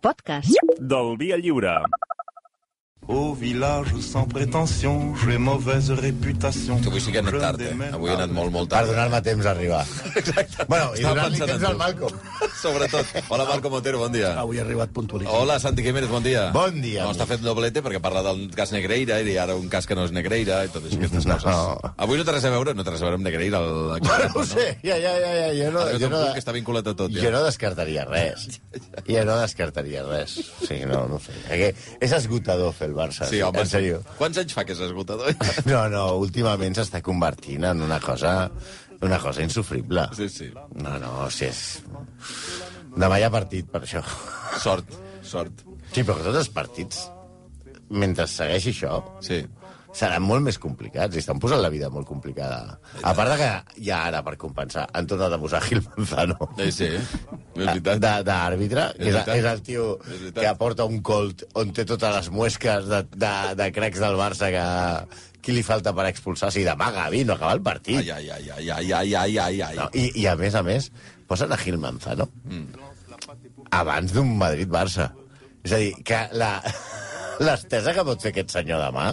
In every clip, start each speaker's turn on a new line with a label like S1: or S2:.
S1: podcast.
S2: Del Via Lliure.
S3: Au village sans prétention, j'ai mauvaise réputation.
S4: Que avui sí que he anat tard, eh? Avui he anat molt, molt
S5: per
S4: tard.
S5: donar-me temps a arribar.
S4: Exacte.
S5: Bueno, i
S4: Estava
S5: donar-li
S4: pensant en
S5: temps
S4: tu.
S5: al Malcolm.
S4: Sobretot. Hola, Marco Montero, bon dia.
S6: Avui he arribat puntualíssim.
S4: Hola, Santi Jiménez, bon dia.
S5: Bon dia.
S4: No, està fent doblete perquè parla del cas Negreira i ara un cas que no és Negreira i totes aquestes
S5: No.
S4: coses. Avui no té res a veure, no té res a veure amb Negreira. El...
S5: Bueno, no ho sé, ja, ja, ja, ja, jo no...
S4: Ha
S5: Jo
S4: arribat un
S5: no,
S4: punt que està vinculat a tot, ja.
S5: jo no descartaria res. Jo no descartaria res. Sí, no, no ho sé. Perquè és esgotador fer el Barça.
S4: Sí, home,
S5: en sèrio.
S4: Quants anys fa que és esgotador?
S5: No, no, últimament s'està convertint en una cosa una cosa insufrible.
S4: Sí, sí.
S5: No, no, o sigui, és... Demà hi ha partit, per això.
S4: Sort, sort.
S5: Sí, però tots els partits, mentre segueixi això,
S4: Sí.
S5: seran molt més complicats i estan posant la vida molt complicada. A part de que ja ara, per compensar, han tornat a posar Gil Manzano.
S4: Sí, Eh, sí. És
S5: de-
S4: veritat.
S5: de- D'àrbitre,
S4: És
S5: que és,
S4: veritat.
S5: és el tio
S4: És veritat.
S5: que aporta un colt on té totes les muesques de, de, de cracs del Barça que... Qui li falta per expulsar? Si demà Gavi no acaba el partit.
S4: Ai, ai, ai, ai, ai, ai, ai, ai, ai.
S5: No, i, I a més a més, posen a Gil Manzano
S4: Mm.
S5: abans d'un Madrid-Barça. És a dir, que la- l'estesa que pot fer aquest senyor demà...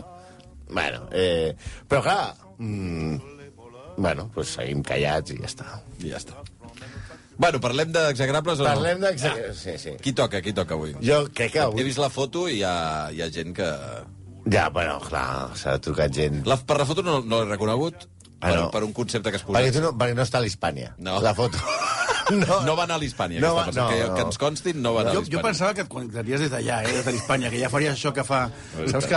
S5: Bueno, eh, però clar... Mm, bueno, doncs seguim callats i ja està.
S4: I ja està. Bueno, parlem d'exagrables o no?
S5: Parlem de... Sí, sí.
S4: Qui toca, qui toca avui?
S5: Jo crec que
S4: He
S5: avui...
S4: vist la foto i hi ha, hi ha gent que...
S5: Ja, bueno, clar, s'ha trucat gent...
S4: La, per la foto no, no l'he reconegut,
S5: Ah,
S4: per,
S5: no.
S4: per un concepte que has
S5: Perquè,
S4: posat.
S5: tu no, perquè no està a l'Hispània,
S4: No.
S5: la foto.
S4: No va anar a l'Hispània, no
S5: No va-
S4: aquesta persona.
S5: no,
S4: que,
S5: no.
S4: que ens constin, no va anar a
S6: Jo,
S4: l'Hispània.
S6: jo pensava que et connectaries des d'allà, eh, des de l'Hispània, que ja faries això que fa... Saps que...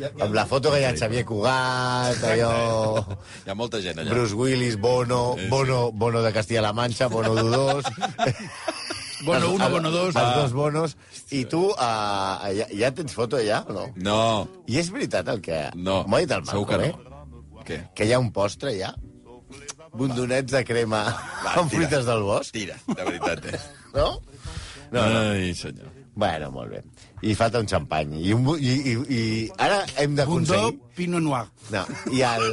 S6: Ja, ja,
S5: Amb la foto que hi ha en Xavier Cugat, allò...
S4: Hi ha molta gent allà.
S5: Bruce Willis, Bono, Bono, Bono de Castilla-La Mancha, Bono Dudós...
S6: Bono
S5: Els-
S6: uno, Bono dos.
S5: Els
S6: Ah.
S5: dos bonos. I tu, uh, ja, ja tens foto allà o no?
S4: No,
S5: I és veritat el que...
S4: no.
S5: M'ho ha dit el Marco,
S4: Segur que
S5: eh?
S4: no. Què?
S5: Que hi ha un postre, ja? Bundonets de crema
S4: tira.
S5: amb fruites del bosc,
S4: Tira, de veritat, eh?
S5: no? No, no.
S4: Ai, senyor.
S5: Bueno, molt bé. I falta un xampany. I, un, bu- i, i, i ara hem
S6: Bundó,
S5: d'aconseguir...
S6: Pinot Noir.
S5: No, i el...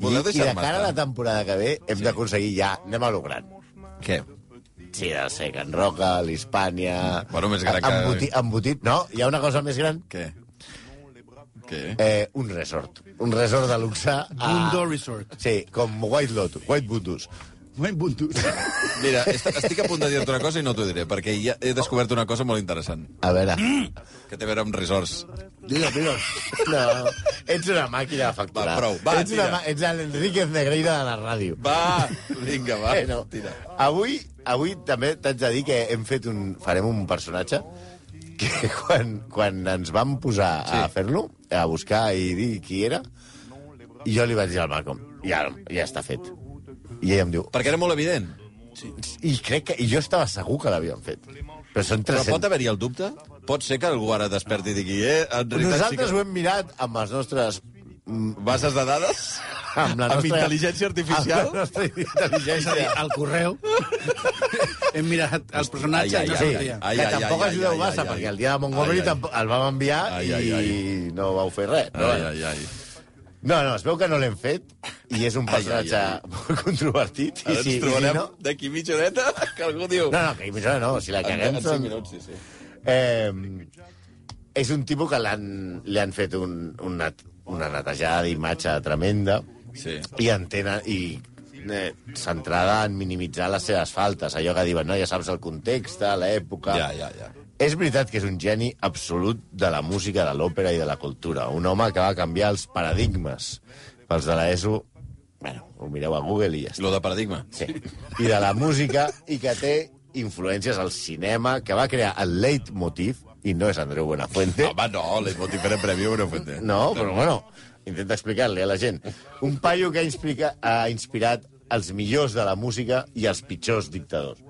S4: Voleu
S5: I, I de
S4: deixar-me
S5: cara a la
S4: estar?
S5: temporada que ve hem d'aconseguir ja... Anem a lo gran.
S4: Què?
S5: Sí, de ser Can Roca, l'Hispània...
S4: Bueno, més gran que-
S5: Embuti, embutit... No, hi ha una cosa més gran.
S4: Què? Què?
S5: Eh, un resort. Un resort de luxe. A...
S6: Bundó Resort.
S5: Sí, com White Lotus, White Bundus.
S6: Moment, Bundó.
S4: Mira, est- estic a punt de dir-te una cosa i no t'ho diré, perquè ja he descobert una cosa molt interessant,
S5: A veure...
S4: que té a veure amb resorts.
S5: Digue'm, digue'm. No, ets una màquina de facturar.
S4: Va, prou. Va,
S5: ets una
S4: tira.
S5: mà- ets l'Enriquez Negreira de la ràdio.
S4: Va, vinga, va,
S5: Eh, no.
S4: tira.
S5: Avui, avui també t'haig de dir que hem fet un, farem un personatge que quan, quan ens vam posar sí. a
S4: Sí.
S5: fer-lo, a buscar i dir qui era, i jo li vaig dir al Malcolm, ja, ja està fet. I ell em diu...
S4: Perquè era molt evident.
S5: I crec que... I jo estava segur que l'havien fet. Però són
S4: Però
S5: 300...
S4: pot haver-hi el dubte? Pot ser que algú ara desperti i digui, eh, en realitat
S5: Nosaltres
S4: sí
S5: ho hem mirat amb els nostres... mm,
S4: que... Bases de dades?
S5: Amb, la nostra,
S4: Amb intel·ligència artificial?
S5: Amb la nostra
S6: És a dir,
S5: intel·ligència.
S6: al correu hem mirat el personatge
S4: Ai, ai,
S6: i no
S4: ai,
S5: Sí,
S6: sortia.
S4: ai,
S5: que
S4: ai,
S5: tampoc
S4: ai,
S5: ajudeu
S4: ai,
S5: massa,
S4: ai, ai.
S5: perquè el dia de Montgomery
S4: Ai, ai.
S5: tampoc el vam enviar
S4: Ai,
S5: i
S4: ai,
S5: no vau fer res. Però
S4: Ai,
S5: bueno.
S4: ai, ai.
S5: No, no, es veu que no l'hem fet i és un
S4: Ai, ai,
S5: personatge
S4: ai.
S5: molt controvertit.
S4: Ara
S5: I si,
S4: ens
S5: i si
S4: trobarem
S5: no...
S4: d'aquí mitja horeta que algú diu...
S5: No, no, que imagina, no, si la
S4: en,
S5: caguem...
S4: en 5
S5: són-
S4: minuts, sí, sí.
S5: Eh, és un tipus que l'han li han fet un, un nat, una netejada d'imatge tremenda
S4: Sí.
S5: i entenen... I eh, centrada en minimitzar les seves faltes, allò que diuen, no, ja saps el context, eh, l'època...
S4: Ja, ja, ja.
S5: És veritat que és un geni absolut de la música, de l'òpera i de la cultura. Un home que va canviar els paradigmes. Pels de l'ESO, bueno, ho mireu a Google i ja
S4: I
S5: està.
S4: lo de paradigma.
S5: Sí. I de la música, i que té influències al cinema, que va crear el leitmotiv, i no és Andreu Buenafuente,
S4: Home, no, l'Esmoti era prèvia una fuente.
S5: no, però bueno, intenta explicar-li a la gent. Un paio que ha, inspira, ha inspirat els millors de la música i els pitjors dictadors.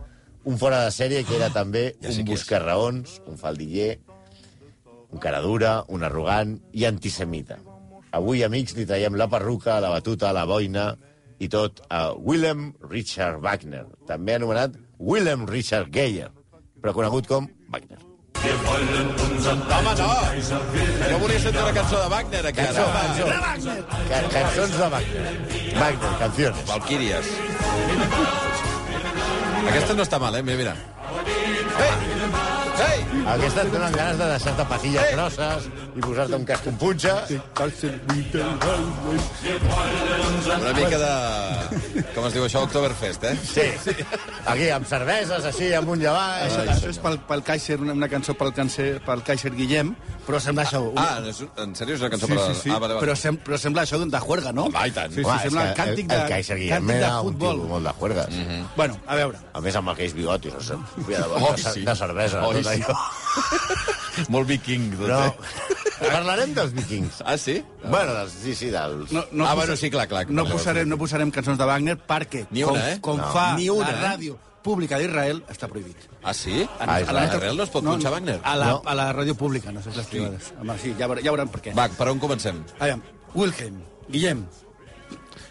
S5: Un fora de sèrie que era també
S4: Ah, Ja
S5: un
S4: sé qui és.
S5: buscarraons, un faldiller, un cara dura, un arrogant i antisemita. Avui, amics, li traiem la perruca, la batuta, la boina i tot a Willem Richard Wagner, també anomenat Willem Richard Geyer, però conegut com Wagner.
S4: Home, no! Jo volia sentir una cançó de Wagner, aquí,
S5: Cançó,
S4: ara.
S5: cançó. Ca- Cançons de Wagner. Wagner, canciones.
S4: Valquíries. Aquesta no està mal, eh? Mira, mira. Ei! Ei!
S5: Aquesta et donen ganes de deixar-te patilles grosses i posar-te un casc amb punxa.
S4: Una mica de... Com es diu això? Oktoberfest, eh?
S5: Sí. Aquí, amb cerveses, així, amunt i avall.
S6: Això, això és pel, pel Kaiser, una, una cançó pel, cancer, pel Kaiser Guillem, però sembla això... Un...
S4: Ah, no és un- en sèrio és una cançó
S6: sí,
S4: per...
S6: sí, sí.
S4: Ah, vale, Ah, vale.
S6: Però, sem però sembla això d'un de juerga, no?
S5: Home, i tant.
S6: Sí, sí,
S5: Home,
S6: sembla
S5: és
S6: el
S5: que
S6: càntic de,
S5: El Kaiser Guillem
S6: càntic de
S5: era un
S6: futbol.
S5: tio molt de juergues.
S6: Bueno, a veure,
S5: A més, amb aquells bigotis, no sé, de,
S4: Oh,
S5: de,
S4: sí.
S5: de cervesa.
S4: Oh,
S5: tot
S4: sí.
S5: allò.
S4: Molt viking, doncs,
S5: No.
S4: eh?
S5: Parlarem dels vikings.
S4: Ah, sí?
S5: Bueno, dels, sí, sí, dels...
S6: no, no,
S4: ah,
S6: posa-
S4: bueno, sí, clar, clar.
S6: no,
S4: clar,
S6: posarem, no posarem cançons de Wagner perquè,
S4: Ni una,
S6: com,
S4: eh?
S6: com
S5: No.
S6: fa
S4: Ni una,
S6: la
S4: eh?
S6: ràdio pública d'Israel, està prohibit.
S4: Ah, sí?
S5: Ah, és
S4: a
S5: la-
S4: la Real no es pot punxar Wagner?
S6: A la,
S5: No.
S6: a la ràdio pública, no sé, les privades. Home, sí, ja, veure- ja veurem per què.
S4: Va, per on comencem?
S6: Aviam, Wilhelm, Guillem,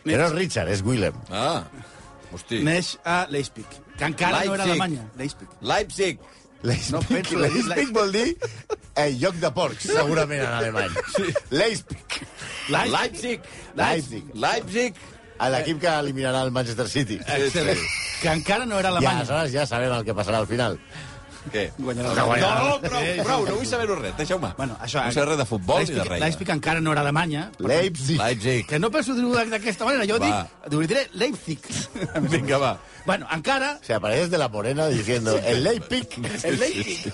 S5: Però no és Richard, és Willem.
S4: Ah, hosti.
S6: neix a Leipzig, que encara no era
S4: Leipzig.
S6: Alemanya. Leipzig.
S4: Leipzig.
S6: No
S5: Leipzig,
S6: penso-
S5: Leipzig vol dir eh, lloc de porcs, segurament en alemany. Leipzig,
S4: Leipzig.
S5: Leipzig.
S4: Leipzig.
S5: l'equip que eliminarà el Manchester City.
S6: Excel·lent. Que encara no era
S5: Ja,
S6: Alemanya.
S5: aleshores ja sabem el que passarà al final.
S4: Què?
S5: No,
S6: Guanyarà Alemanya.
S5: guanyarà.
S4: No, prou, prou, no vull saber-ho res, deixeu-me.
S6: Bueno, això...
S4: No sé res de futbol ni de
S6: Leipzig-
S4: res.
S6: Leipzig encara no era Alemanya. per tant,
S5: Leipzig.
S4: Leipzig.
S6: Que no penso dir-ho d'aquesta manera. Jo
S4: Va.
S6: dic, ho diré Leipzig.
S4: Vinga, va.
S6: bueno, encara...
S5: Se aparece de la morena diciendo el Leipzig.
S6: El Leipzig.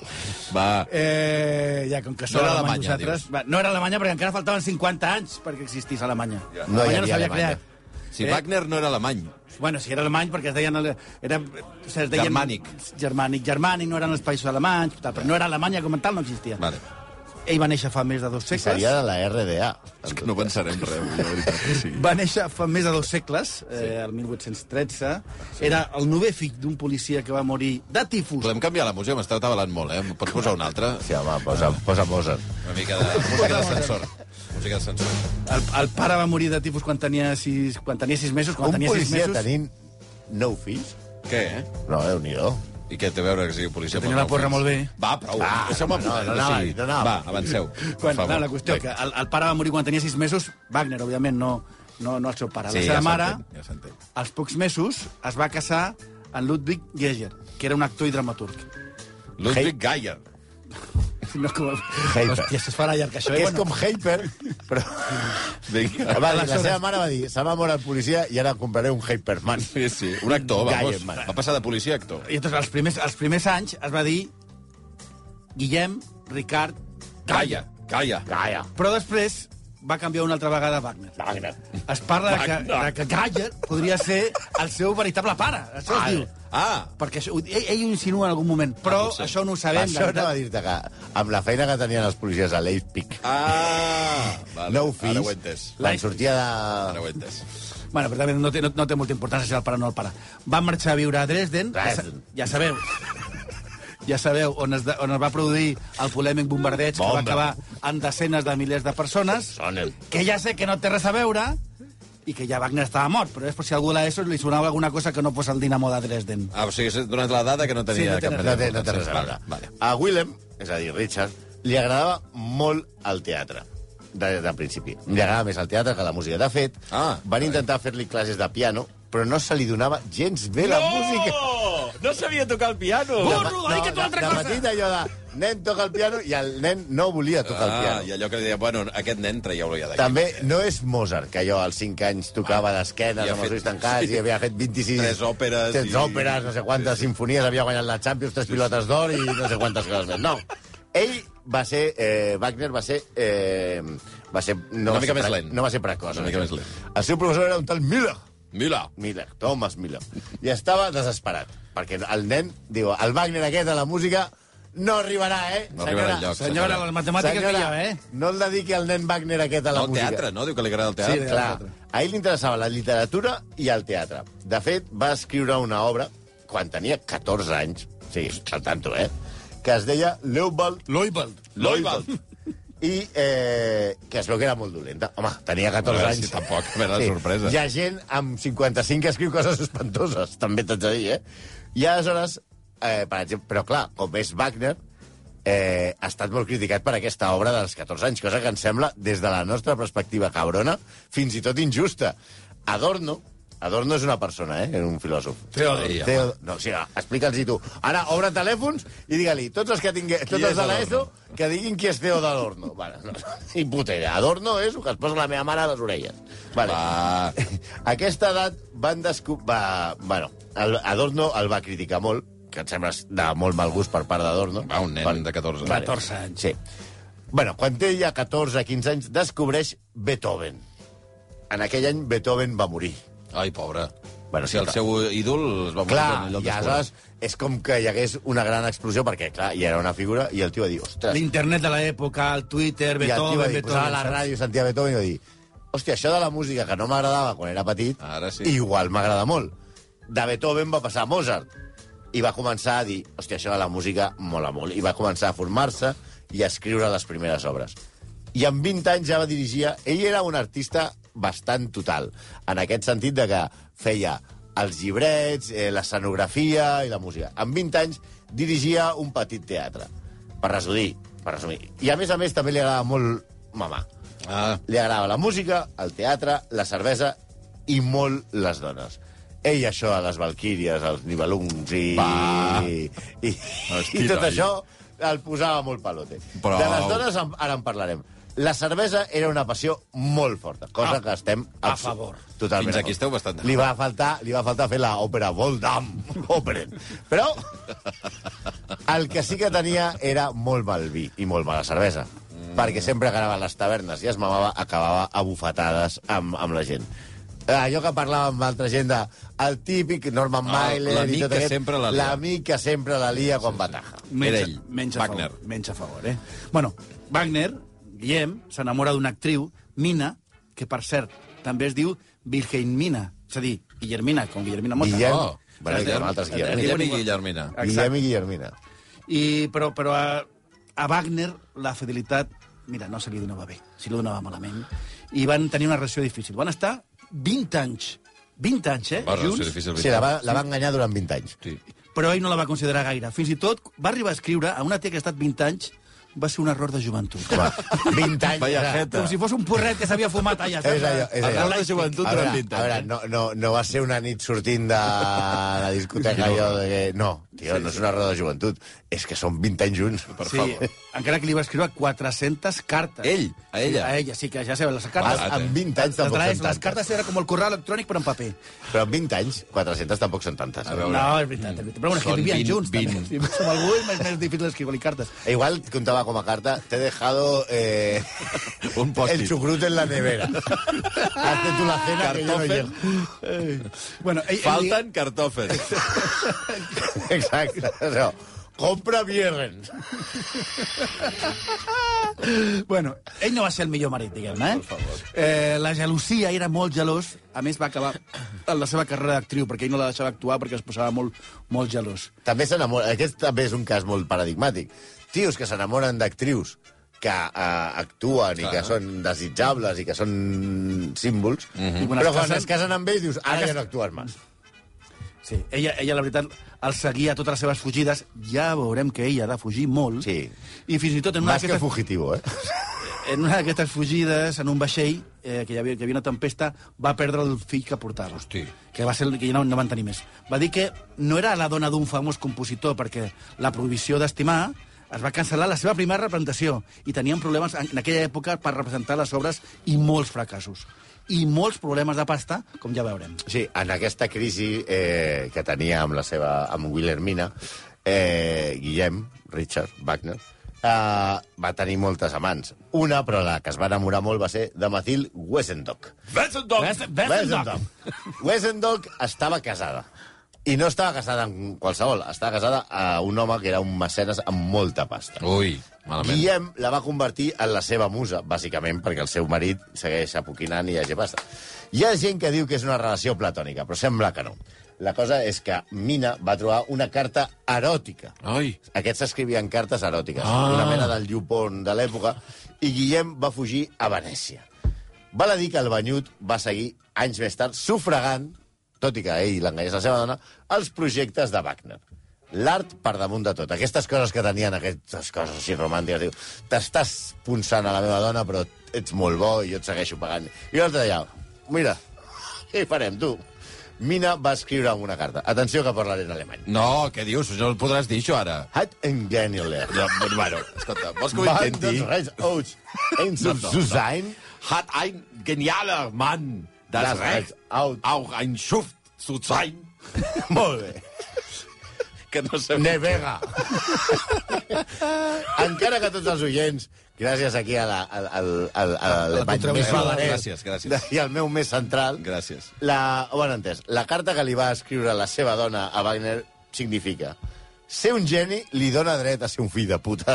S4: Va.
S6: Eh, ja, com que
S4: No
S6: som
S4: era
S6: alemanys
S4: Alemanya,
S6: nosaltres... Va, no era Alemanya perquè encara faltaven 50 anys perquè existís Alemanya.
S5: Ja. No hi
S6: Alemanya
S5: havia
S6: s'havia
S5: Alemanya.
S6: creat.
S4: Si
S6: Eh?
S4: Wagner no era alemany.
S6: Bueno, si era alemany, perquè es deien... ale- Era, o sigui, es deien
S4: Germànic.
S6: Germànic, germànic, no eren els països alemanys, tal, però no era Alemanya com a tal, no existia.
S4: Vale.
S6: Ell va néixer fa més de dos segles.
S5: Seria de la RDA.
S4: És que no pensarem res, avui, la veritat. Sí.
S6: Va néixer fa més de dos segles, eh, el 1813. Era el nové fill d'un policia que va morir de tifus.
S4: Podem canviar la música? M'està atabalant molt, eh? Em Pots posar una altra?
S5: Sí, home, posa, posa Mozart.
S4: Una mica de música d'ascensor. Música d'ascensor.
S6: El, el pare va morir de tifus quan tenia sis, quan tenia sis mesos. Quan
S5: Un
S6: tenia sis
S5: policia
S6: mesos,
S5: tenint nou fills?
S4: Què, eh?
S5: No, déu nhi
S4: I què té a veure que sigui policia?
S6: tenia la porra molt bé.
S4: Va, prou.
S5: Va,
S4: Deixeu-me
S5: Ah. no,
S4: posar-
S5: no anava, no anava.
S4: Va, avanceu.
S6: Quan,
S4: per favor.
S6: no, la qüestió, que
S4: Vinga.
S6: el, el pare va morir quan tenia sis mesos, Wagner, òbviament, no, no, no el seu pare.
S4: Sí,
S6: la
S4: ja
S6: seva mare,
S4: s'entén, ja s'entén.
S6: als pocs mesos, es va casar amb Ludwig Geiger, que era un actor i dramaturg.
S4: Ludwig Geyer.
S6: No, com...
S5: Heifer.
S6: Hòstia, es farà llarg, això. eh?
S5: Que és com Heiper, però...
S4: Vinga.
S5: Va dir, la seva mare va dir, se va morir el policia i ara em compraré un Hyperman.
S4: Sí, sí. Un actor, vamos.
S5: Geyer,
S4: Va passar de policia a actor.
S6: I llavors, els primers, els primers anys es va dir Guillem, Ricard...
S4: Calla, calla.
S5: Gaia.
S6: Però després va canviar una altra vegada a Wagner.
S5: Wagner.
S6: Es parla de que, de que Geyer podria ser el seu veritable pare. Això
S4: Ah,
S6: es diu.
S4: Ah,
S6: Perquè això, ell, ell ho insinua en algun moment, però
S4: Ah, potser.
S6: això no ho
S5: Per
S6: sabem.
S5: això
S6: de
S5: anava a
S6: veritat.
S5: dir-te que amb la feina que tenien els policies a Leipzig,
S4: Ah! Vale.
S5: nou fills,
S4: Ara ho he entès.
S5: quan sortia
S4: Ara
S5: de...
S4: ho he entès.
S6: Bueno, però també no té, no, no té molta importància si el pare o no el pare. Van marxar a viure a Dresden, ja, sa-
S5: Dresden.
S6: ja sabeu, ja sabeu on es, de- on es va produir el polèmic bombardeig que va
S5: Bomba.
S6: acabar en desenes de milers de persones,
S5: Sonen.
S6: que ja sé que no té res a veure i que ja Wagner estava mort, però és per si algú a l'ESO li sonava alguna cosa que no fos el Dinamo de Dresden.
S4: Ah, o sigui, has donat la dada que no
S6: Sí,
S4: tenia
S6: no té
S4: cap
S6: res.
S5: No té, no té res a veure.
S4: Vale, vale.
S5: A Willem, és a dir, Richard, li agradava molt el teatre de, de principi. Li agradava més el teatre que la música. De fet,
S4: Ah,
S5: van intentar fer-li classes de piano, però no se li donava gens bé la música.
S4: No sabia tocar el piano!
S6: Burro,
S5: No,
S6: dedica't a una altra
S5: de, de
S6: cosa!
S5: petit allò de nen toca el piano i el nen no volia tocar el
S4: Ah,
S5: piano.
S4: i allò que li deia, bueno, aquest nen traieu-lo ja d'aquí.
S5: També no és Mozart, que jo als 5 anys tocava d'esquenes
S4: I ha
S5: amb
S4: Ah.
S5: els
S4: fet-
S5: ulls tancats
S4: sí.
S5: i havia fet 26...
S4: Tres òperes
S5: Tres
S4: i-
S5: òperes, no sé quantes sinfonies, havia guanyat la Champions, tres pilotes d'or i no sé quantes coses més. No. Ell va ser... Eh, Wagner va ser... Eh, va ser no
S4: Una
S5: va
S4: mica
S5: ser
S4: més
S5: pre-
S4: lent.
S5: No va ser precoç. eh.
S4: Una mica més lent.
S5: El seu professor era un tal Miller.
S4: Mira!
S5: Miller, Thomas Miller. I estava desesperat, perquè el nen, diu, el Wagner aquest a la música no arribarà, eh?
S4: No arribarà enlloc,
S6: Senyora, les matemàtiques
S5: senyora,
S6: que hi ha, eh?
S5: no el dediqui al nen Wagner aquest a la
S4: No, el
S5: música.
S4: teatre, no? Diu que li agrada el
S5: Sí,
S4: teatre.
S5: clar. A ell li interessava la literatura i el teatre. De fet, va escriure una obra quan tenia 14 anys, sí, al tanto, eh? Que es deia Leopold
S6: Loibald.
S4: L'Oibald.
S5: i eh, que es veu que era molt dolenta. Home, tenia 14
S4: A veure
S5: anys.
S4: si tampoc, a veure la sorpresa.
S5: Hi ha gent amb 55 que escriu coses espantoses, també t'haig de dir, eh? I aleshores, eh, per exemple, però clar, com és Wagner, eh, ha estat molt criticat per aquesta obra dels 14 anys, cosa que ens sembla, des de la nostra perspectiva cabrona, fins i tot injusta. Adorno, Adorno és una persona, eh? Era un filòsof.
S4: Teodor. Ei, home.
S5: Teodor. No, o sigui, explica'ls-hi tu. Ara, obre telèfons i digue-li, tots els que tingue, tots
S4: és
S5: els de l'ESO,
S4: Adorno?
S5: que diguin qui és Teodor Adorno. Vale, no, ni puta idea. Adorno és el que es posa la meva mare a les orelles. Vale.
S4: Va.
S5: A aquesta edat van descobrir... Va... Bueno, el Adorno el va criticar molt, que em sembla de molt mal gust per part d'Adorno.
S4: Va, un nen
S5: Per-
S4: de 14.
S6: 14 anys.
S5: Sí. Bueno, quan té ja 14-15 anys, descobreix Beethoven. En aquell any Beethoven va morir.
S4: Ai, pobre.
S5: Bueno,
S4: Bueno,
S5: sí,
S4: si el
S5: clar.
S4: seu ídol es va morir
S5: Clar,
S4: en lloc
S5: i aleshores és com que hi hagués una gran explosió, perquè, clar, hi era una figura, i el tio va dir, ostres...
S6: L'internet de l'època, el Twitter,
S5: I el tio va
S6: Beethoven,
S5: dir, posava
S6: Beethoven...
S5: la
S6: saps?
S5: ràdio, sentia Beethoven, i va dir, hòstia, això de la música que no m'agradava quan era petit,
S4: Ara sí.
S5: igual m'agrada molt. De Beethoven va passar a Mozart, i va començar a dir, hòstia, això de la música mola molt, i va començar a formar-se i a escriure les primeres obres. I amb 20 anys ja va dirigir... Ell era un artista bastant total, en aquest sentit de que feia els llibrets, eh, l'escenografia i la música. Amb 20 anys dirigia un petit teatre, per resumir, per resumir. I a més a més també li agrada molt mamar.
S4: Ah,
S5: Li agrada la música, el teatre, la cervesa i molt les dones. Ell això a les Valquíries, als Nibelungs i...
S4: Va.
S5: I, i,
S4: Hosti,
S5: i tot
S4: noi.
S5: això el posava molt pelote.
S4: Però-
S5: De les dones en, ara en parlarem. La cervesa era una passió molt forta, cosa que estem...
S6: a
S5: abso-
S6: favor.
S5: Totalment
S4: Ah, Fins
S5: a
S4: aquí
S5: favor.
S4: esteu bastant d'acord.
S5: Li va faltar, li va faltar fer l'òpera Voldam, Operen. Però el que sí que tenia era molt mal vi i molt mala cervesa. Mm. Perquè sempre que anava a les tavernes i es mamava, acabava a bufetades amb, amb la gent. Allò que parlava amb altra gent de... El típic Norman
S4: Ah,
S5: Mailer...
S4: l'amic
S5: i tot
S4: que
S5: aquest,
S4: sempre la lia.
S5: L'amic que sempre la lia quan bataja.
S4: Era
S6: Menys,
S4: ell,
S6: menys a
S4: Wagner.
S6: favor. Menys a favor, eh? Bueno, Wagner, Guillem, s'enamora d'una actriu, Mina, que, per cert, també es diu Wilhelmina. És a dir, Guillermina, com Guillermina Mota.
S5: Guillem...
S4: Oh.
S5: Oh. Bueno,
S4: Guillem-
S5: hi ha altres
S4: Guillem,
S5: Guillermina.
S4: i Guillermina.
S6: Exacte.
S5: Guillem i Guillermina.
S6: I, però però a, a Wagner la fidelitat, mira, no se li donava bé, se li donava malament. I van tenir una relació difícil. Van estar 20 anys, 20 anys, eh,
S4: Va, no,
S6: junts,
S4: difícil.
S5: Sí, la va, la va enganyar durant 20 anys.
S4: Sí.
S6: però ell no la va considerar gaire. Fins i tot va arribar a escriure a una tia que ha estat 20 anys va ser un error de joventut.
S5: Home, 20 anys.
S4: Vaya
S5: era-
S4: jeta.
S6: Com si fos un porret que s'havia fumat allà.
S5: És allò, és allò.
S4: Error de joventut
S5: A veure,
S4: durant 20 anys,
S5: A veure,
S4: eh?
S5: no, no, no va ser una nit sortint de la discoteca allò de que... No, tio, no és una error de joventut. És que són 20 anys junts.
S4: Per
S6: sí,
S4: favor.
S6: encara que li va escriure 400 cartes.
S4: Ell? A ella?
S6: Sí, a ella, sí, que ja sabeu, les
S5: Ah,
S6: cartes...
S4: Ah,
S5: amb 20 anys
S6: les,
S5: tampoc
S6: les,
S5: són
S6: les
S5: tantes.
S6: cartes era com el correu electrònic, però en paper.
S5: Però amb 20 anys, 400 tampoc són tantes.
S4: A veure.
S6: No, és veritat, és veritat. Però bueno, és que
S4: Són
S6: vivien
S4: 20,
S6: junts,
S4: 20.
S6: 20. també. Si vius amb algú és més, més difícil escriure-li cartes.
S5: E Igual contava com a carta, t'he dejado eh,
S4: Un post-it.
S5: el chucrut en la nevera. Hazte tu la cena, que yo no
S4: Cartofen.
S5: llego.
S6: Bueno, ell,
S4: Falten cartòfers.
S5: Exacte. No. Compra Bierren.
S6: Ell, bueno, ell no va ser el millor marit, diguem-ne, eh? eh? La gelosia era molt gelós. A més, va acabar la seva carrera d'actriu, perquè ell no la deixava actuar perquè es posava molt, molt gelós.
S5: També s'enamora... Aquest també és un cas molt paradigmàtic. Tios que s'enamoren d'actrius que eh, actuen i
S4: Clar.
S5: que són desitjables i que són símbols,
S6: I quan
S5: però
S6: es
S5: quan
S6: casen-
S5: es casen amb ells dius, ara
S6: Ara
S5: ja
S6: es-
S5: no actuen més.
S6: Sí, ella, ella, la veritat, el seguia a totes les seves fugides. Ja veurem que ella ha de fugir molt.
S5: Sí.
S6: I fins i tot en una
S5: Más que
S6: d'aquestes
S5: fugitivo, eh?
S6: en una d'aquestes fugides, en un vaixell, eh, que, hi havia, que hi havia una tempesta, va perdre el fill que portava.
S4: Hosti.
S6: Que va ser el que no, no van tenir més. Va dir que no era la dona d'un famós compositor, perquè la prohibició d'estimar es va cancel·lar la seva primera representació i tenien problemes en en aquella època per representar les obres i molts fracassos. I molts problemes de pasta, com ja veurem.
S5: Sí, en aquesta crisi eh, que tenia amb la seva... amb Wilhelmina, eh, Guillem, Richard, Wagner, eh, va tenir moltes amants. Una, però la que es va enamorar molt, va ser de Mathilde Wesendok.
S6: Ves- ves endoc.
S5: Wesendok. Wesendok estava casada. I no estava casada amb qualsevol, estava casada a un home que era un mecenes amb molta pasta.
S4: Ui, malament.
S5: Guillem la va convertir en la seva musa, bàsicament, perquè el seu marit segueix apoquinant i hagi pasta. Hi ha gent que diu que és una relació platònica, però sembla que no. La cosa és que Mina va trobar una carta eròtica.
S4: Ai.
S5: Aquests s'escrivien cartes eròtiques,
S4: Ah.
S5: una mena del llupon de l'època, i Guillem va fugir a Venècia. Val a dir que el banyut va seguir anys més tard sufragant, tot i que ell l'enganyés la seva dona, els projectes de Wagner. L'art per damunt de tot. Aquestes coses que tenien, aquestes coses així romàntiques, diu, t'estàs punçant a la meva dona, però ets molt bo i jo et segueixo pagant. I l'altre deia, mira, què hi farem, tu? Mina va escriure amb una carta. Atenció que parlaré en alemany.
S4: No, què dius? No el podràs dir, això, ara.
S5: Hat en Genile.
S4: Ja, bueno, escolta, vols que ho
S5: Van
S4: intenti?
S5: des Reis aus ein
S4: No, no,
S5: zu
S4: no.
S5: sein.
S4: Hat ein genialer Mann
S5: Das Recht, out.
S4: auch ein Schuft zu sein.
S5: Molt bé.
S4: Que no sé...
S5: Nevega. Encara que tots els oients, gràcies aquí a la, al, al, al, a l'Alemany
S4: contribució
S5: més
S4: de-
S5: badanès
S4: gràcies, gràcies.
S5: i al meu més central,
S4: Gràcies.
S5: la, ho han entès, la carta que li va escriure la seva dona a Wagner significa ser un geni li dona dret a ser un fill de puta.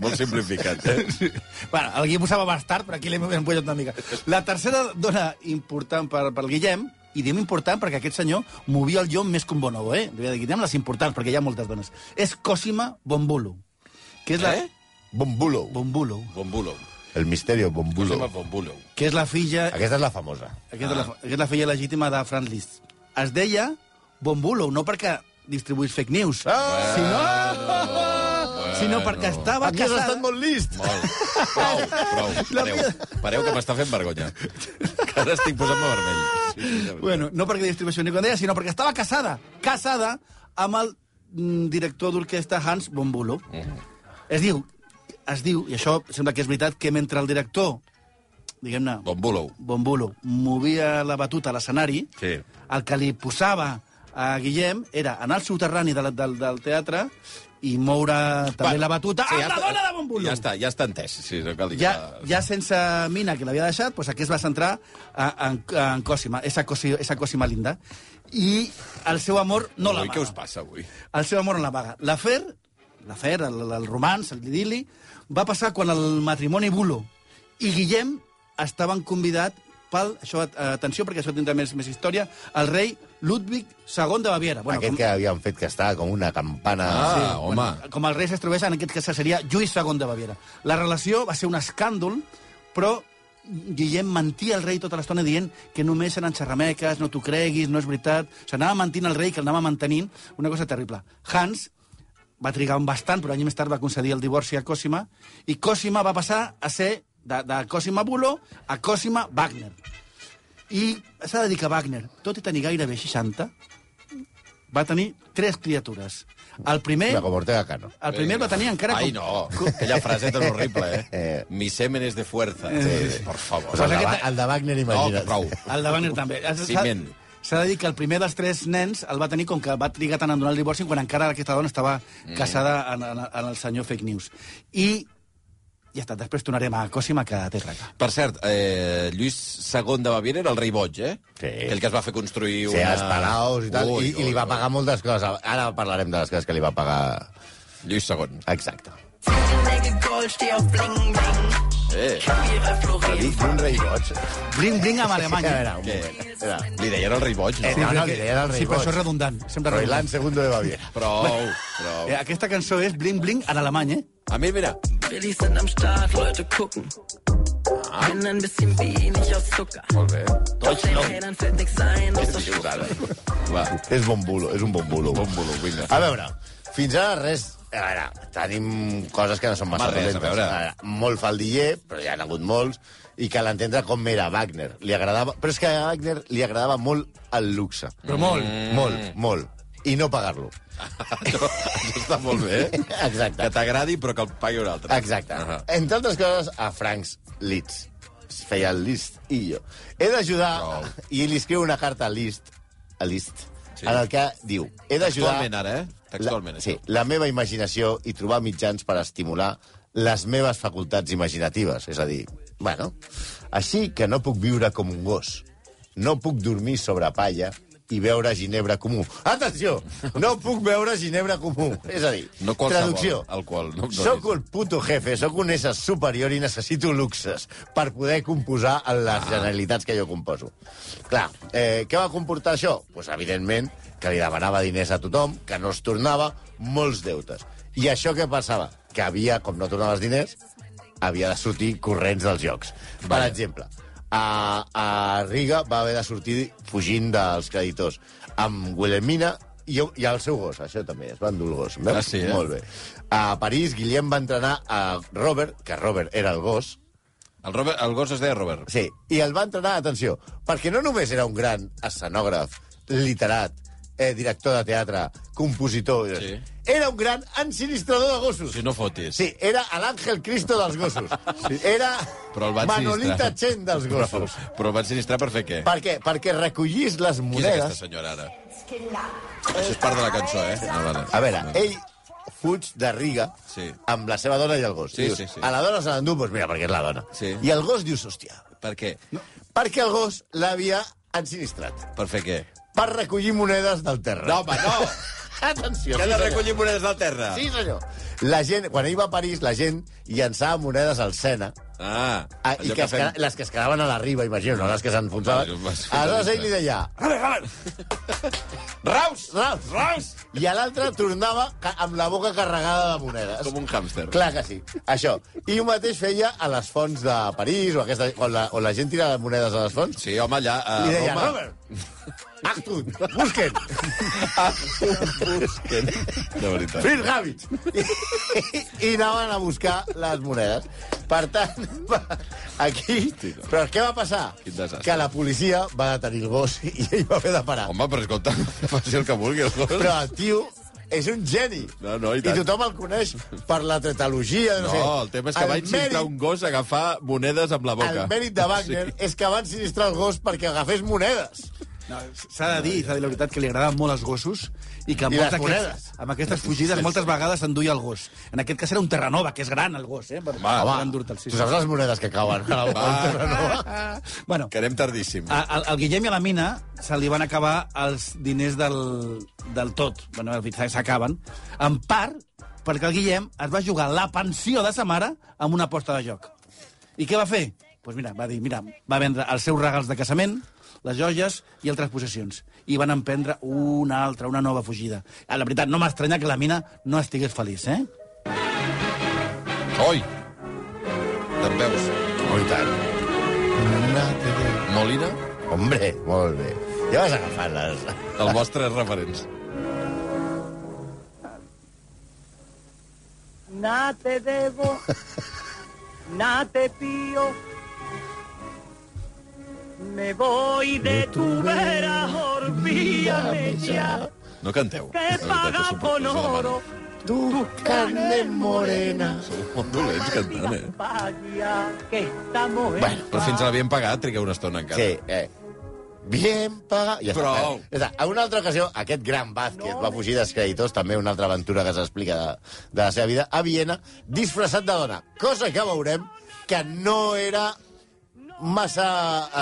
S4: Molt simplificat, eh?
S6: Bueno, el Guim ho sabia bastard, però aquí l'hem empollat una mica. La tercera dona important per, per Guillem, i diem important perquè aquest senyor movia el llom més que un bonobo, eh? Li Guillem les importants, perquè hi ha moltes dones. És Cosima Bombulo. Que és la...
S4: Eh?
S5: Bombulo.
S6: Bombulo.
S4: Bombulo.
S5: El misterio Bombulo.
S4: Cosima Bombulo.
S6: Que és la filla...
S4: eh?
S5: Aquesta és la famosa.
S6: Aquesta, ah. la, fa- aquesta és la filla legítima de Franz Liszt. Es deia Bombulo, no perquè distribuís fake news,
S5: Ah!
S6: sinó, sinó Eh, perquè
S4: Ah,
S6: estava
S5: Aquí has
S6: casada...
S5: estat molt list.
S4: Molt. Prou, prou. Pareu, pareu que m'està fent vergonya. Que ara estic posant-me vermell. Sí, sí, de veritat.
S6: Bueno, no perquè distribució ni com deia, sinó perquè estava casada, casada amb el mm, director d'orquestra Hans Bombulo. Es diu, es diu, i això sembla que és veritat, que mentre el director, diguem-ne,
S4: Bombulo.
S6: Bombulo, movia la batuta a l'escenari,
S4: Sí.
S6: el que li posava a Guillem era anar al soterrani de la, del, del teatre i moure
S4: Va,
S6: també la batuta
S4: sí, ja
S6: sí, ja amb la
S4: està-
S6: dona de Bombulo.
S4: Ja està, ja està entès. Sí, no cal dir
S6: Ja,
S4: que-
S6: ja sense Mina, que l'havia deixat, doncs aquí es va centrar a- en, en Cosima, esa, cosi, esa Cosima linda. I el seu amor no
S4: Ui,
S6: la
S4: què us
S6: paga.
S4: passa avui?
S6: El seu amor no la paga. L'afer, l'afer, el, el romans, l'idili, va passar quan el matrimoni Bulo i Guillem estaven convidat pel, això, at- atenció, perquè això tindrà més, més història, el rei Ludwig II de Baviera.
S5: Bueno, Aquest
S6: com-
S5: com... que havien fet que estava com una campana...
S4: Ah, home.
S6: com el rei s'estrobés, en aquest cas seria Lluís II de Baviera. La relació va ser un escàndol, però Guillem mentia al rei tota l'estona dient que només eren xerrameques, no t'ho creguis, no és veritat... O sigui, anava mentint al rei, que el anava mantenint, una cosa terrible. Hans va trigar un bastant, però anys més tard va concedir el divorci a Cosima, i Cosima va passar a ser de, de Cosima Bulo a Cosima Wagner. I s'ha de dir que Wagner, tot i tenir gairebé 60, va tenir tres criatures. El primer...
S5: Mira, com Ortega Cano.
S6: El primer el va tenir encara...
S4: eh, Ai, no, aquella fraseta és horrible, eh?
S5: Eh.
S4: Mi semen és de fuerza. Sí. Por favor.
S5: Pues el,
S6: Passa
S5: de,
S6: que
S5: Wa-
S6: ta-
S5: el de Wagner, imagina't.
S4: No, prou.
S6: El de Wagner també. S'ha-
S4: Ciment.
S6: S'ha de dir que el primer dels tres nens el va tenir com que va trigar tant a donar el divorci quan encara aquesta dona estava
S5: Mm.
S6: casada en, en, en el senyor Fake News. I ja està, després tornarem a Cosima, que té raca.
S4: Per cert, eh, Lluís II de Baviera era el rei boig, eh?
S5: Sí.
S4: Aquell que es va fer construir
S5: Sí,
S4: una...
S5: els palaus i tal,
S4: Ui,
S5: i, i li
S4: ui,
S5: va
S4: ui.
S5: pagar moltes coses. Ara parlarem de les coses que li va pagar...
S4: Lluís Eh. II.
S5: Exacte.
S1: Fingernägel, Goldstier, Bling, Bling.
S4: Eh,
S1: Karriere
S5: Però
S1: floriert.
S5: dic un rei boig.
S6: Bling, bling amb Alemanya.
S5: A veure, un
S4: Què?
S5: moment. Espera.
S4: li deien el rei boig, no?
S5: Eh, no, no,
S6: perquè-
S5: li deien el
S6: sí,
S5: rei
S6: però això és
S5: boig.
S6: redundant. Sempre redundant.
S5: Roiland II de Baviera.
S4: Prou,
S6: Eh,
S4: prou.
S6: aquesta cançó és Bling Bling en alemany, eh?
S4: A mi, mira,
S1: Billies sind am Start, Leute gucken. Bin ein bisschen wenig aus Zucker.
S4: molt bé.
S1: Doch den Rädern fällt nix ein, außer
S4: Dius
S1: Schuhe.
S4: ara. Va,
S5: És bombulo, és un bombulo.
S4: Bombulo, vinga.
S5: A veure, fins ara res... A veure, tenim coses que no són massa
S4: Home, res, a
S5: dolentes.
S4: veure.
S5: molt faldiller, però ja n'ha hagut molts, i cal entendre com era Wagner. Li agradava... Però és que a Wagner li agradava molt el luxe.
S6: Però molt.
S5: Molt, molt. I no pagar-lo.
S4: això, això està molt bé. eh?
S5: Exacte.
S4: Que t'agradi, però que el pagui un altre.
S5: Exacte.
S4: Ahà.
S5: Entre altres coses, a Franks Liszt. Es feia el Liszt i jo. He d'ajudar...
S4: Prou.
S5: I li escriu una carta a Liszt, a Liszt,
S4: Sí.
S5: sí. en el que diu... He d'ajudar...
S4: Textualment, ara, eh? Textualment,
S5: la,
S4: això.
S5: sí, la meva imaginació i trobar mitjans per estimular les meves facultats imaginatives. És a dir, bueno, així que no puc viure com un gos. No puc dormir sobre palla i veure ginebra comú. Atenció! No puc veure ginebra comú. És a dir,
S4: No qualsevol
S5: traducció.
S4: alcohol, no- no
S5: soc
S4: és.
S5: el puto jefe, sóc un ésser superior i necessito luxes per poder composar en
S4: Ah.
S5: les generalitats que jo composo. Clar, eh, què va comportar això? Pues, evidentment, que li demanava diners a tothom, que no es tornava, molts deutes. I això què passava? Que havia, com no tornava els diners, havia de sortir corrents dels jocs. Per
S4: Vaja.
S5: exemple, a, a Riga va haver de sortir fugint dels creditors amb Wilhelmina i, i el seu gos, això també, es va endur el gos. Veus?
S4: Ah, sí, eh?
S5: Molt bé. A París, Guillem va entrenar a Robert, que Robert era el gos,
S4: El, Robert, el gos es deia Robert.
S5: Sí, i el va entrenar, atenció, perquè no només era un gran escenògraf, literat, eh, director de teatre, compositor...
S4: Sí.
S5: Era un gran ensinistrador de gossos.
S4: Si no fotis.
S5: Sí, era l'Àngel Cristo dels gossos. Sí. Era
S4: Però el van
S5: Manolita
S4: sinistrar.
S5: Chen dels
S4: Però,
S5: gossos.
S4: però el van sinistrar per fer què?
S5: Per què? Perquè recollís les
S4: Qui és aquesta
S5: monedes...
S4: senyora ara? Això és part de la cançó, eh? Ah, vale.
S5: A veure, ell fuig de Riga
S4: Sí.
S5: amb la seva dona i el gos.
S4: Sí,
S5: I dius,
S4: sí, sí.
S5: A la dona se l'endú, doncs mira, perquè és la dona.
S4: Sí.
S5: I el gos dius, hòstia,
S4: Per què?
S5: perquè el gos l'havia ensinistrat
S4: Per fer què?
S5: per recollir monedes del terra.
S4: No, home, no!
S5: Atenció.
S4: Que ha de recollir monedes del terra.
S5: Sí, senyor. La gent, quan ell va a París, la gent llançava monedes al Sena,
S4: Ah,
S5: Ah, i
S4: allò
S5: que es queda, les que es quedaven a la riba, imagino, no les que s'enfonsaven.
S4: Vale, vas-
S5: Aleshores ell li deia... "Raus,
S4: Raus!
S5: Raus, Raus! I a l'altre tornava ca- amb la boca carregada de monedes.
S4: Com un hàmster.
S5: Clar que sí, això. I ho mateix feia a les fonts de París, o aquesta, on, la, on la gent tirava monedes a les fonts.
S4: Sí, home, allà a
S5: I deia,
S4: Roma...
S5: Robert, Actun, busquen,
S4: Busquen. De veritat.
S5: Phil Gavitz. I, I anaven a buscar les monedes. Per tant, va- aquí... Però què va passar?
S4: Quin desastre.
S5: Que la policia va detenir el gos i ell va haver de parar.
S4: Home, però escolta, faci el que vulgui, el gos.
S5: Però el tio és un geni.
S4: No, no, i
S5: i,
S4: tant.
S5: tothom el coneix per la tretalogia. No,
S4: No,
S5: sé.
S4: el tema és que va insistir
S5: mèrit-
S4: un gos a agafar monedes amb la boca.
S5: El mèrit de Wagner sí. és que va ensinistrar el gos perquè agafés monedes.
S6: No, s'ha de dir, s'ha de dir la veritat, que li agradaven molt els gossos i que amb,
S5: I les
S6: moltes aquests,
S5: monedes.
S6: amb aquestes fugides moltes vegades s'enduia el gos. En aquest cas era un Terranova, que és gran el gos, eh? Per,
S4: Home,
S6: per
S4: home,
S6: endur-te'l, sí,
S5: Tu saps les monedes que cauen?
S4: Ah.
S5: a la volta, no?
S6: sí. Bueno,
S4: Que anem tardíssim.
S5: Ah.
S6: a- al, al Guillem i a la Mina se li van acabar els diners del, del tot. Bueno, els diners s'acaben. En part perquè el Guillem es va jugar la pensió de sa mare amb una aposta de joc. I què va fer? Doncs pues mira, va dir, mira, va vendre els seus regals de casament, les joies i altres possessions. I van emprendre una altra, una nova fugida. Ah, La veritat, no m'estranya que la mina no estigués feliç, eh?
S4: Oi! Te'n veus?
S5: Oh, i tant. Una, tele-
S4: Molina?
S5: Hombre, molt bé. Ja vas agafant les...
S4: El vostre referents.
S2: Na te debo, na te pío. Me voy de tu vera, olvídame ya.
S4: No canteu.
S2: Que paga con oro,
S5: Tu, carne morena.
S4: Sou molt dolents cantant, eh?
S2: vaya que estamos en
S5: Bueno,
S4: Però fins a l'havien pagat, trigueu una estona encara.
S5: Sí, eh. Bien pagat. Ja està,
S4: Prou.
S5: eh? Ja està. En una altra ocasió, aquest gran Vázquez va fugir dels creditors, també una altra aventura que s'explica de, de la seva vida, a Viena, disfressat de dona. Cosa que veurem que no era massa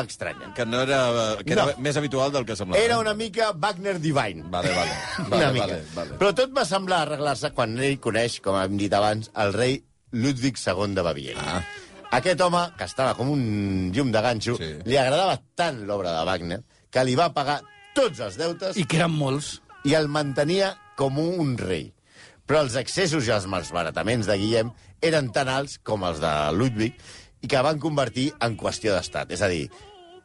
S5: estranya.
S4: Que no era... Que era
S5: No.
S4: més habitual del que semblava.
S5: Era una mica Wagner Divine.
S4: Vale, vale.
S5: Una
S4: vale,
S5: mica.
S4: Vale, vale.
S5: Però tot va semblar arreglar-se quan ell coneix, com hem dit abans, el rei Ludwig II de Baviera.
S4: Ah.
S5: Aquest home, que estava com un llum de ganxo,
S4: Sí.
S5: li agradava tant l'obra de Wagner que li va pagar tots els deutes i,
S6: I que eren molts.
S5: i el mantenia com un rei. Però els excessos i els malbarataments de Guillem eren tan alts com els de Ludwig i que van convertir en qüestió d'estat. És a dir,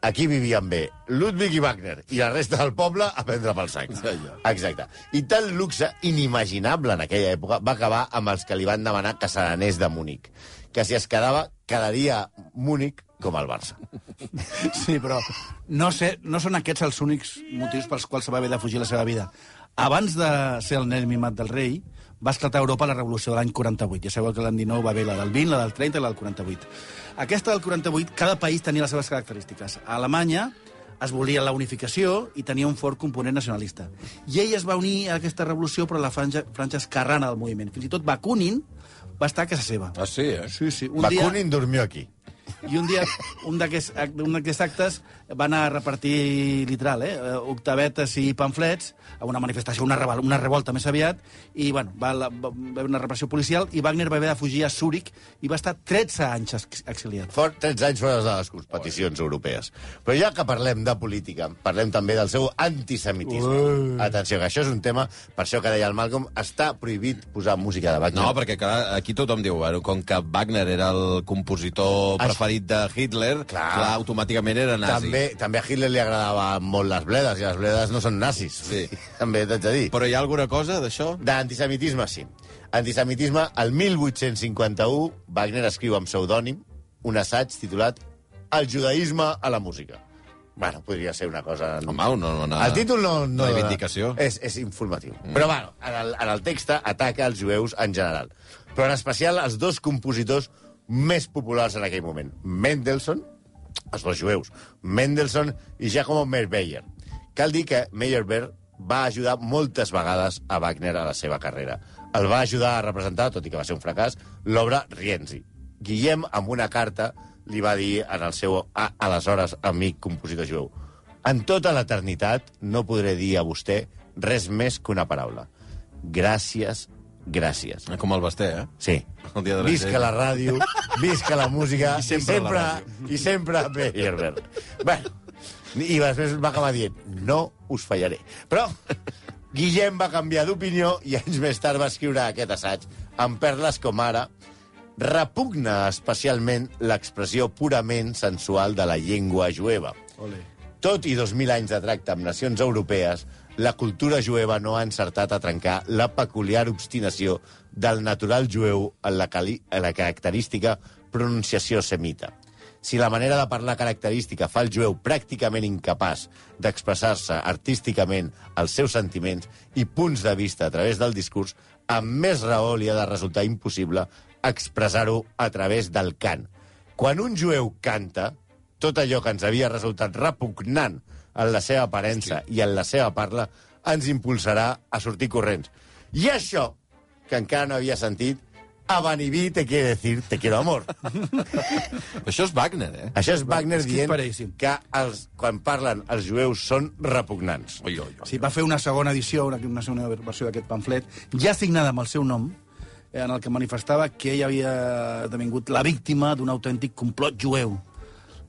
S5: aquí vivien bé Ludwig i Wagner i la resta del poble a prendre pel sac. Exacte. I tal luxe inimaginable en aquella època va acabar amb els que li van demanar que se n'anés de Múnich. Que si es quedava, quedaria Múnich com el Barça.
S6: Sí, però no, sé, no són aquests els únics motius pels quals se va haver de fugir la seva vida. Abans de ser el nen mimat del rei, va esclatar a Europa la revolució de l'any 48. Ja sabeu que l'any 19 va haver la del 20, la del 30 i la del 48. Aquesta del 48, cada país tenia les seves característiques. A Alemanya es volia la unificació i tenia un fort component nacionalista. I ell es va unir a aquesta revolució, però a la franja, franja esquerrana del moviment. Fins i tot Bakunin va estar a casa seva.
S4: Ah, sí, eh?
S6: Sí, sí. Un dia...
S5: Bakunin dormió aquí.
S6: I un dia, un d'aquests ac- un d'aquests actes va anar a repartir, literal, eh, octavetes i pamflets a una manifestació, una, revolta, una revolta més aviat, i bueno, va, la, va, va haver una repressió policial i Wagner va haver de fugir a Zúrich i va estar 13 anys ex- exiliat.
S5: Fort 13 anys fora de les competicions europees. Però ja que parlem de política, parlem també del seu antisemitisme. Atenció, que això és un tema, per això que deia el Malcolm, està prohibit posar música de Wagner.
S4: No, perquè clar, aquí tothom diu, bueno, com que Wagner era el compositor
S5: Ah, sí.
S4: preferit de Hitler, clar,
S5: Clar.
S4: clar automàticament era nazi.
S5: també, també a Hitler li agradaven molt les bledes, i les bledes no són nazis.
S4: Sí.
S5: també t'haig de dir.
S4: Però hi ha alguna cosa d'això?
S5: D'antisemitisme, sí. Antisemitisme, el 1851, Wagner escriu amb pseudònim un assaig titulat El judaïsme a la música. Bueno, podria ser una cosa...
S4: Home, una, una...
S5: El títol no... no
S4: Una reivindicació.
S5: És, és informatiu. Mm. Però, bueno, en el, en el text ataca els jueus en general. Però en especial els dos compositors més populars en aquell moment. Mendelssohn, els dos jueus, Mendelssohn i Giacomo Meyerbeer. Cal dir que Meyerbeer va ajudar moltes vegades a Wagner a la seva carrera. El va ajudar a representar, tot i que va ser un fracàs, l'obra Rienzi. Guillem, amb una carta, li va dir en el seu a, aleshores amic compositor jueu en tota l'eternitat no podré dir a vostè res més que una paraula. Gràcies, gràcies.
S4: Com el Basté, eh?
S5: Sí.
S4: El dia de la
S5: Visca
S4: gent.
S5: la ràdio, visca la música, i sempre,
S4: sempre la
S5: i sempre, i sempre Herbert. Bueno, i després va acabar dient, no us fallaré. Però Guillem va canviar d'opinió i anys més tard va escriure aquest assaig amb perles com ara repugna especialment l'expressió purament sensual de la llengua jueva.
S6: Ole.
S5: Tot i 2.000 anys de tracte amb nacions europees, la cultura jueva no ha encertat a trencar la peculiar obstinació del natural jueu en la, cali en la característica pronunciació semita. Si la manera de parlar característica fa el jueu pràcticament incapaç d'expressar-se artísticament els seus sentiments i punts de vista a través del discurs, amb més raó li ha de resultar impossible expressar-ho a través del cant. Quan un jueu canta, tot allò que ens havia resultat repugnant en la seva aparença i en la seva parla ens impulsarà a sortir corrents. I això, que encara no havia sentit, a Benibí te quiere decir te quiero amor.
S4: Això és Wagner, eh?
S5: Això és Wagner
S6: és que és
S5: dient
S6: paríssim.
S5: que els, quan parlen els jueus són repugnants.
S4: Oi, oi, oi.
S6: Sí, va fer una segona edició, una, una segona versió d'aquest pamflet, ja signada amb el seu nom, eh, en el que manifestava que ell havia devingut la víctima d'un autèntic complot jueu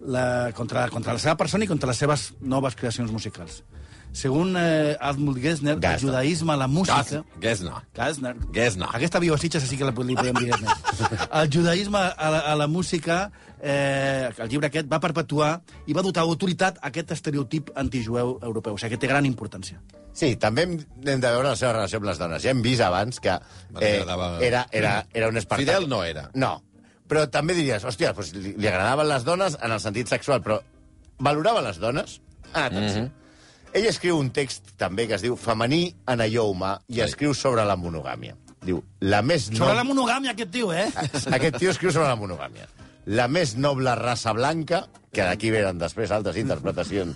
S6: la, contra, contra la seva persona i contra les seves noves creacions musicals. Segon eh, Admut Gessner, el
S5: Gassner.
S6: judaïsme, la
S4: Ah,
S6: música...
S4: Gesna.
S6: Gassner.
S4: Gesna.
S6: Aquesta viu a Sitges, així que la, li podem dir Gassner. El judaïsme a la, a la música, eh, el llibre aquest va perpetuar i va dotar autoritat a aquest estereotip antijueu europeu. O sigui que té gran importància.
S5: Sí, també hem, hem de veure la seva relació amb les dones. Ja hem vist abans que eh,
S4: agradava-
S5: era, era, era un espartac.
S4: Fidel no era.
S5: No, però també diries, hòstia, doncs li, li agradaven les dones en el sentit sexual, però valorava les dones? Ah, mm -hmm. Ell escriu un text també que es diu Femení en allò humà i escriu sobre la monogàmia. Diu, la més
S6: Sobre
S5: noble-
S6: la monogàmia, aquest tio, eh?
S5: aquest tio escriu sobre la monogàmia. La més noble raça blanca, que d'aquí venen després altres interpretacions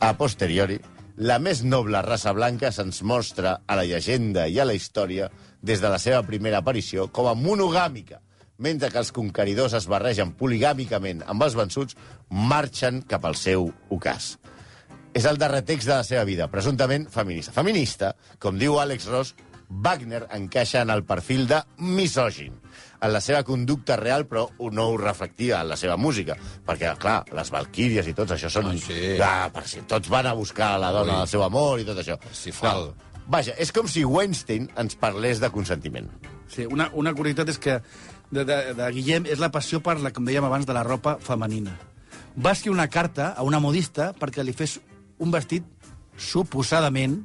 S5: a posteriori, la més noble raça blanca se'ns mostra a la llegenda i a la història des de la seva primera aparició com a monogàmica, mentre que els conqueridors es barregen poligàmicament amb els vençuts, marxen cap al seu ocàs. És el darrer text de la seva vida, presumptament feminista. Feminista, com diu Àlex Ross, Wagner encaixa en el perfil de misògin, en la seva conducta real, però no ho reflectia en la seva música. Perquè, clar, les valquíries i tots això són...
S4: Ah, sí.
S5: Ah, per si tots van a buscar la dona
S4: Ui.
S5: del seu amor i tot això.
S4: Si fal.
S5: Vaja, és com si Weinstein ens parlés de consentiment.
S4: Eh.
S6: Sí, una, una curiositat és que de, de, de Guillem és la passió per, la, com dèiem abans, de la ropa femenina. Va escriure una carta a una modista perquè li fes un vestit suposadament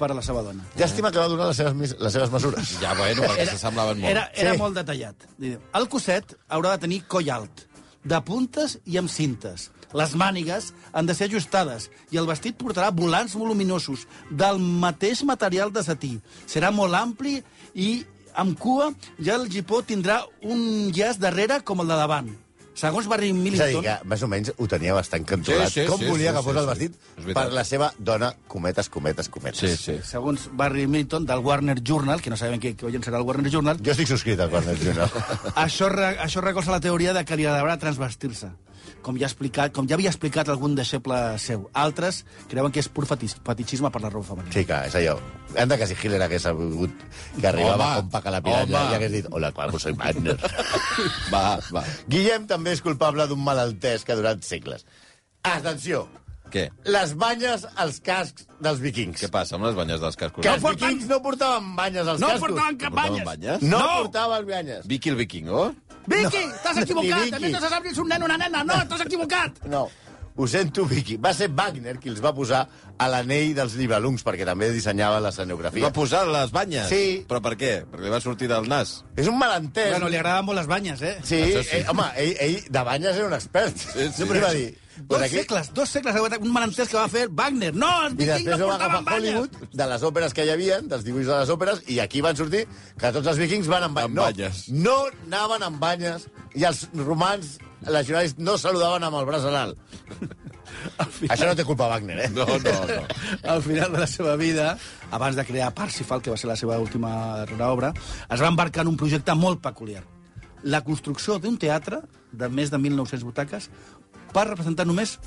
S6: per a la seva dona.
S5: Llàstima que va donar les seves, mis- les seves mesures.
S4: Ja, bueno, perquè s'assemblaven molt.
S6: Era, era
S5: Sí.
S6: sí. molt detallat. Diu, El coset haurà de tenir coll alt, de puntes i amb cintes. Les mànigues han de ser ajustades i el vestit portarà volants voluminosos del mateix material de setí. Serà molt ampli i amb cua ja el gipó tindrà un llaç darrere com el de davant. Segons Barry
S5: És a dir,
S6: Millington...
S5: que més o menys ho tenia bastant controlat.
S4: Sí, sí,
S5: Com
S4: sí,
S5: volia
S4: sí,
S5: que
S4: sí,
S5: fos el
S4: sí.
S5: vestit
S4: És veritat.
S5: per la seva dona, cometes, cometes, cometes.
S4: Sí, sí.
S6: Segons Barry Millington, del Warner Journal, que no sabem què, què serà el Warner Journal,
S5: Jo estic subscrit al eh, Cornet Junior.
S6: Això, re, això recolza la teoria de que li agradarà transvestir-se, com ja ha explicat, com ja havia explicat algun deixeble seu. Altres creuen que és pur fetis, fetitxisme per la roba femenina.
S5: Sí, clar, és allò. Anda que si Hitler hagués sabut que arribava
S4: Home,
S5: com paca la piranya
S4: home.
S5: i hagués dit hola, claro, soy Wagner.
S4: Va, va.
S5: Guillem també és culpable d'un malaltès que ha durat segles. Atenció!
S4: Què?
S5: Les banyes als cascs dels vikings.
S4: Què passa amb les banyes dels cascos?
S5: Que els vikings no portaven banyes als cascos.
S4: cap banyes. banyes?
S5: No, portaven banyes.
S4: Vicky el vikingo?
S6: Vicky, t'has
S5: Ni
S6: equivocat!
S5: Vicky.
S6: També t'has abrit un nen o una nena! No, t'has equivocat!
S5: No. Ho sento, Vicky. Va ser Wagner qui els va posar a l'anell dels llibelungs, perquè també dissenyava l'escenografia.
S4: Va posar les banyes?
S5: Sí.
S4: Però per què? Perquè li va sortir del nas.
S5: És un malentès.
S6: Bueno, li agraden molt les banyes, eh?
S5: Sí,
S4: Això sí.
S5: sí. Eh, home, ell, ell de banyes era un expert. Sí,
S4: sí.
S5: I va dir...
S6: Dos
S5: "Pues aquí-
S6: segles, dos segles, un malentès que va fer Wagner. No, els
S5: I després
S6: vikings no
S5: ho va agafar
S6: portaven banyes.
S5: Hollywood de les òperes que hi havia, dels dibuixos de les òperes, i aquí van sortir que tots els vikings van amb banyes.
S4: Amb
S5: No,
S4: banyes.
S5: no anaven amb banyes i els romans legionaris no saludaven amb el braç en alt. Això no té culpa Wagner, eh?
S4: No, no, no.
S6: al final de la seva vida, abans de crear Parsifal, que va ser la seva última darrera obra, es va embarcar en un projecte molt peculiar. La construcció d'un teatre de més de 1.900 butaques per representar només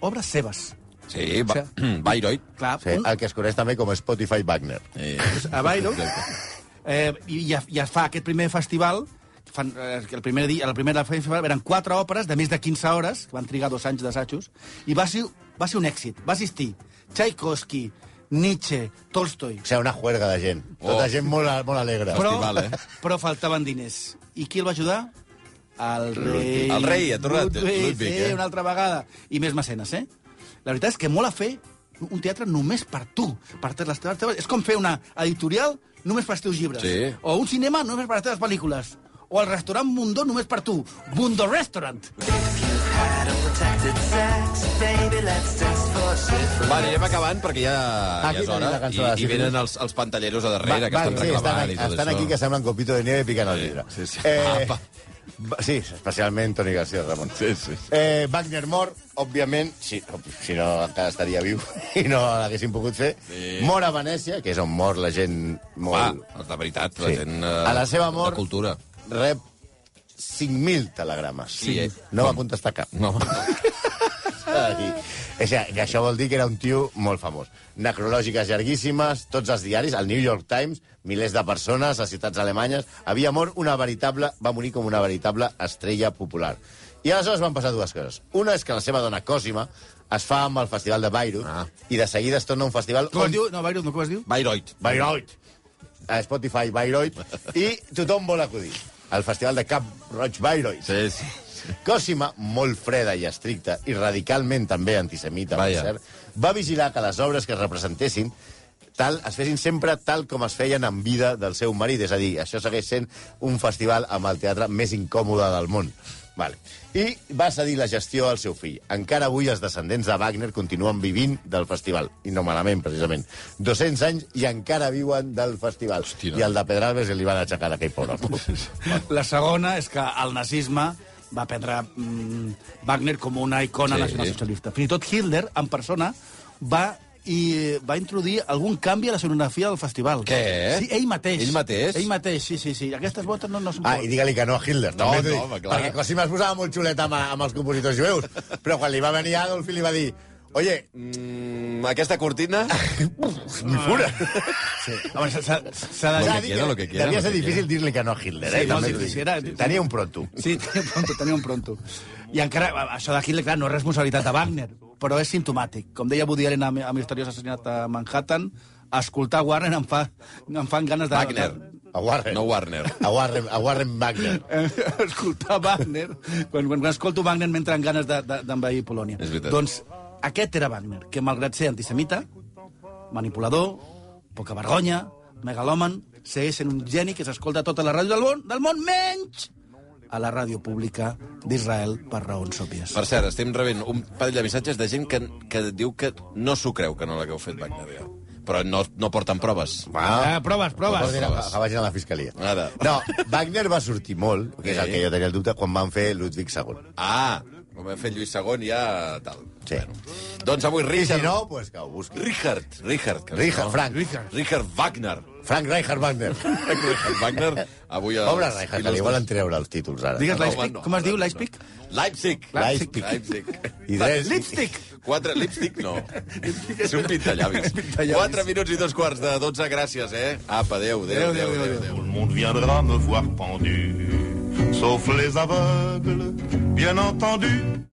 S6: obres seves.
S4: Sí, va, Bayreuth.
S6: Clar,
S5: Sí, el que es coneix també com Spotify Wagner.
S4: Eh,
S6: a Bayreuth. Eh, i, ja, ja es fa aquest primer festival, fan, eh, el primer dia, el primer festival eren quatre òperes de més de 15 hores, que van trigar dos anys d'assajos, i va ser, va ser un èxit. Va assistir Tchaikovsky, Nietzsche, Tolstoi.
S5: O sigui, una juerga de gent. Oh. Tota
S4: Oh.
S5: gent molt, molt alegre.
S6: Però,
S4: Festival, eh?
S6: però faltaven diners. I qui el va ajudar? El rei.
S4: El rei, ha tornat,
S6: Ludwig,
S4: Ludwig,
S6: eh?
S4: eh?
S6: una altra vegada. I més mecenes, eh? La veritat és que mola fer un teatre només per tu, per totes les teves... teves- És com fer una editorial només per als teus llibres.
S4: Sí.
S6: O un cinema només per les teves pel·lícules. O el restaurant Mundó només per tu. Mundo Restaurant.
S4: Va, anirem acabant perquè ja,
S5: Aquí
S4: ja és
S5: tenim
S4: hora.
S5: la cançó
S4: I,
S5: de la
S4: I
S5: sífilis.
S4: venen els, els pantalleros a darrere, que estan
S5: sí, estan,
S4: reclamant
S5: aquí,
S4: i tot
S5: estan
S4: això.
S5: aquí que semblen copito de nieve picant el vidre.
S4: sí, sí.
S5: Eh,
S4: Apa.
S5: va- sí, especialment Toni García Ramon.
S4: Sí, sí.
S5: Eh, Wagner mor, òbviament, si, si no encara estaria viu i no l'haguessin pogut fer.
S4: Sí.
S5: Mor a Venècia, que és on mor la gent
S4: Va,
S5: molt...
S4: de veritat, la
S5: Sí.
S4: gent... eh,
S5: A la seva mort-
S4: De cultura.
S5: Rep 5.000 telegrames.
S4: Sí, eh?
S5: No va contestar cap.
S4: No,
S5: Ah, sí. O sigui, que això vol dir que era un tio molt famós. Necrològiques llarguíssimes, tots els diaris, el New York Times, milers de persones a ciutats alemanyes. Havia mort una veritable... Va morir com una veritable estrella popular. I aleshores van passar dues coses. Una és que la seva dona Cosima es fa amb el festival de Bayreuth
S4: Ah.
S5: i de seguida es torna a un festival...
S6: Com es diu? No, Bayreuth, no, com es diu?
S4: Bayreuth.
S5: Bayreuth. A Spotify Bayreuth. I tothom vol acudir. Al festival de Cap Roig Bayreuth.
S4: Sí, sí.
S5: Cosima, molt freda i estricta, i radicalment també antisemita, per
S4: Vaja.
S5: cert, va vigilar que les obres que es representessin tal, es fessin sempre tal com es feien en vida del seu marit. És a dir, això segueix sent un festival amb el teatre més incòmode del món. Vale. I va cedir la gestió al seu fill. Encara avui els descendents de Wagner continuen vivint del festival. I no malament, precisament. 200 anys i encara viuen del festival.
S4: Hosti, no.
S5: I el de Pedralbes li van aixecar aquell pobre.
S6: La segona és que el nazisme va prendre mm, Wagner com una icona
S4: Sí.
S6: sí. nacionalsocialista. Fins i tot Hitler, en persona, va i va introduir algun canvi a la sonografia del festival.
S4: Què?
S6: Sí, ell mateix.
S4: Ell mateix?
S6: Ell mateix, sí, sí, sí. Aquestes botes no, no són...
S5: Ah, i digue-li que no a Hitler.
S4: No,
S5: també
S4: no,
S5: t'ho dic,
S4: home, clar.
S5: Perquè Cosima es posava molt xuleta amb, amb els compositors jueus. Però quan li va venir Adolf i li va dir... Oye,
S4: Mm, aquesta cortina...
S5: mi fura.
S6: Home, s'ha- s'ha- s'ha de
S4: Lo
S5: Ja
S4: que
S5: dic
S4: quiera, lo que quiera,
S5: Devia
S4: lo
S5: ser
S4: que
S5: difícil dir-li que no a Hitler,
S6: Sí,
S5: eh? També
S6: molt
S5: t'ho dic.
S6: difícil, era-
S5: Tenia un pronto.
S6: Sí, tenia un pronto, tenia un pronto. I encara, això de Hitler, clar, no és responsabilitat de Wagner, però és simptomàtic. Com deia Woody Allen a, a Misteriós Assassinat a Manhattan, escoltar Warner em, fa, em fan ganes de...
S4: Wagner.
S5: A Warren.
S4: No Warner.
S5: A Warren, a Warren Wagner.
S6: Eh, escoltar Wagner, quan, quan, quan escolto Wagner m'entren ganes de- de- d'envair de, Polònia.
S4: És veritat.
S6: Doncs aquest era Wagner, que malgrat ser antisemita, manipulador, poca vergonya, megaloman, segueix sent un geni que s'escolta a tota la ràdio del món, del món menys a la ràdio pública d'Israel per raons òbvies.
S4: Per cert, estem rebent un parell de missatges de gent que, que diu que no s'ho creu, que no l'hagueu fet Wagner. ja. Però no, no porten proves.
S6: Ah, proves,
S5: Que
S6: proves.
S5: vagin a- Que vagin a la fiscalia.
S4: Ara.
S5: No, Wagner va sortir molt, que és el
S4: Sí.
S5: que jo tenia el dubte, quan van fer Ludwig II.
S4: Ah, com ha fet Lluís II, ja tal.
S5: Sí.
S4: Doncs avui
S5: I si
S4: Richard...
S5: no, pues que ho busqui.
S4: Richard, Richard. que-
S5: Richard,
S4: no?
S5: Frank.
S4: Richard Wagner.
S5: Frank Reichard Wagner.
S4: Richard Wagner, avui... els
S5: Pobre Reichard, que li
S4: il·lustres-
S5: volen treure els títols ara.
S6: Digues
S4: No,
S6: Leipzig,
S4: home, no.
S6: com es diu, Leipzig?
S4: Leipzig.
S5: Leipzig. I tres...
S6: Lipstick.
S4: Quatre, lipstick no. És un pintallavis.
S6: Pintallavis.
S4: Quatre minuts i dos quarts de dotze, gràcies, eh? Apa, adéu, adéu,
S6: Adéu, adéu,
S4: adéu. adéu,
S6: adéu, adéu.
S4: adéu.
S3: Tout le monde viendra me voir pendu, sauf les aveugles, bien entendu.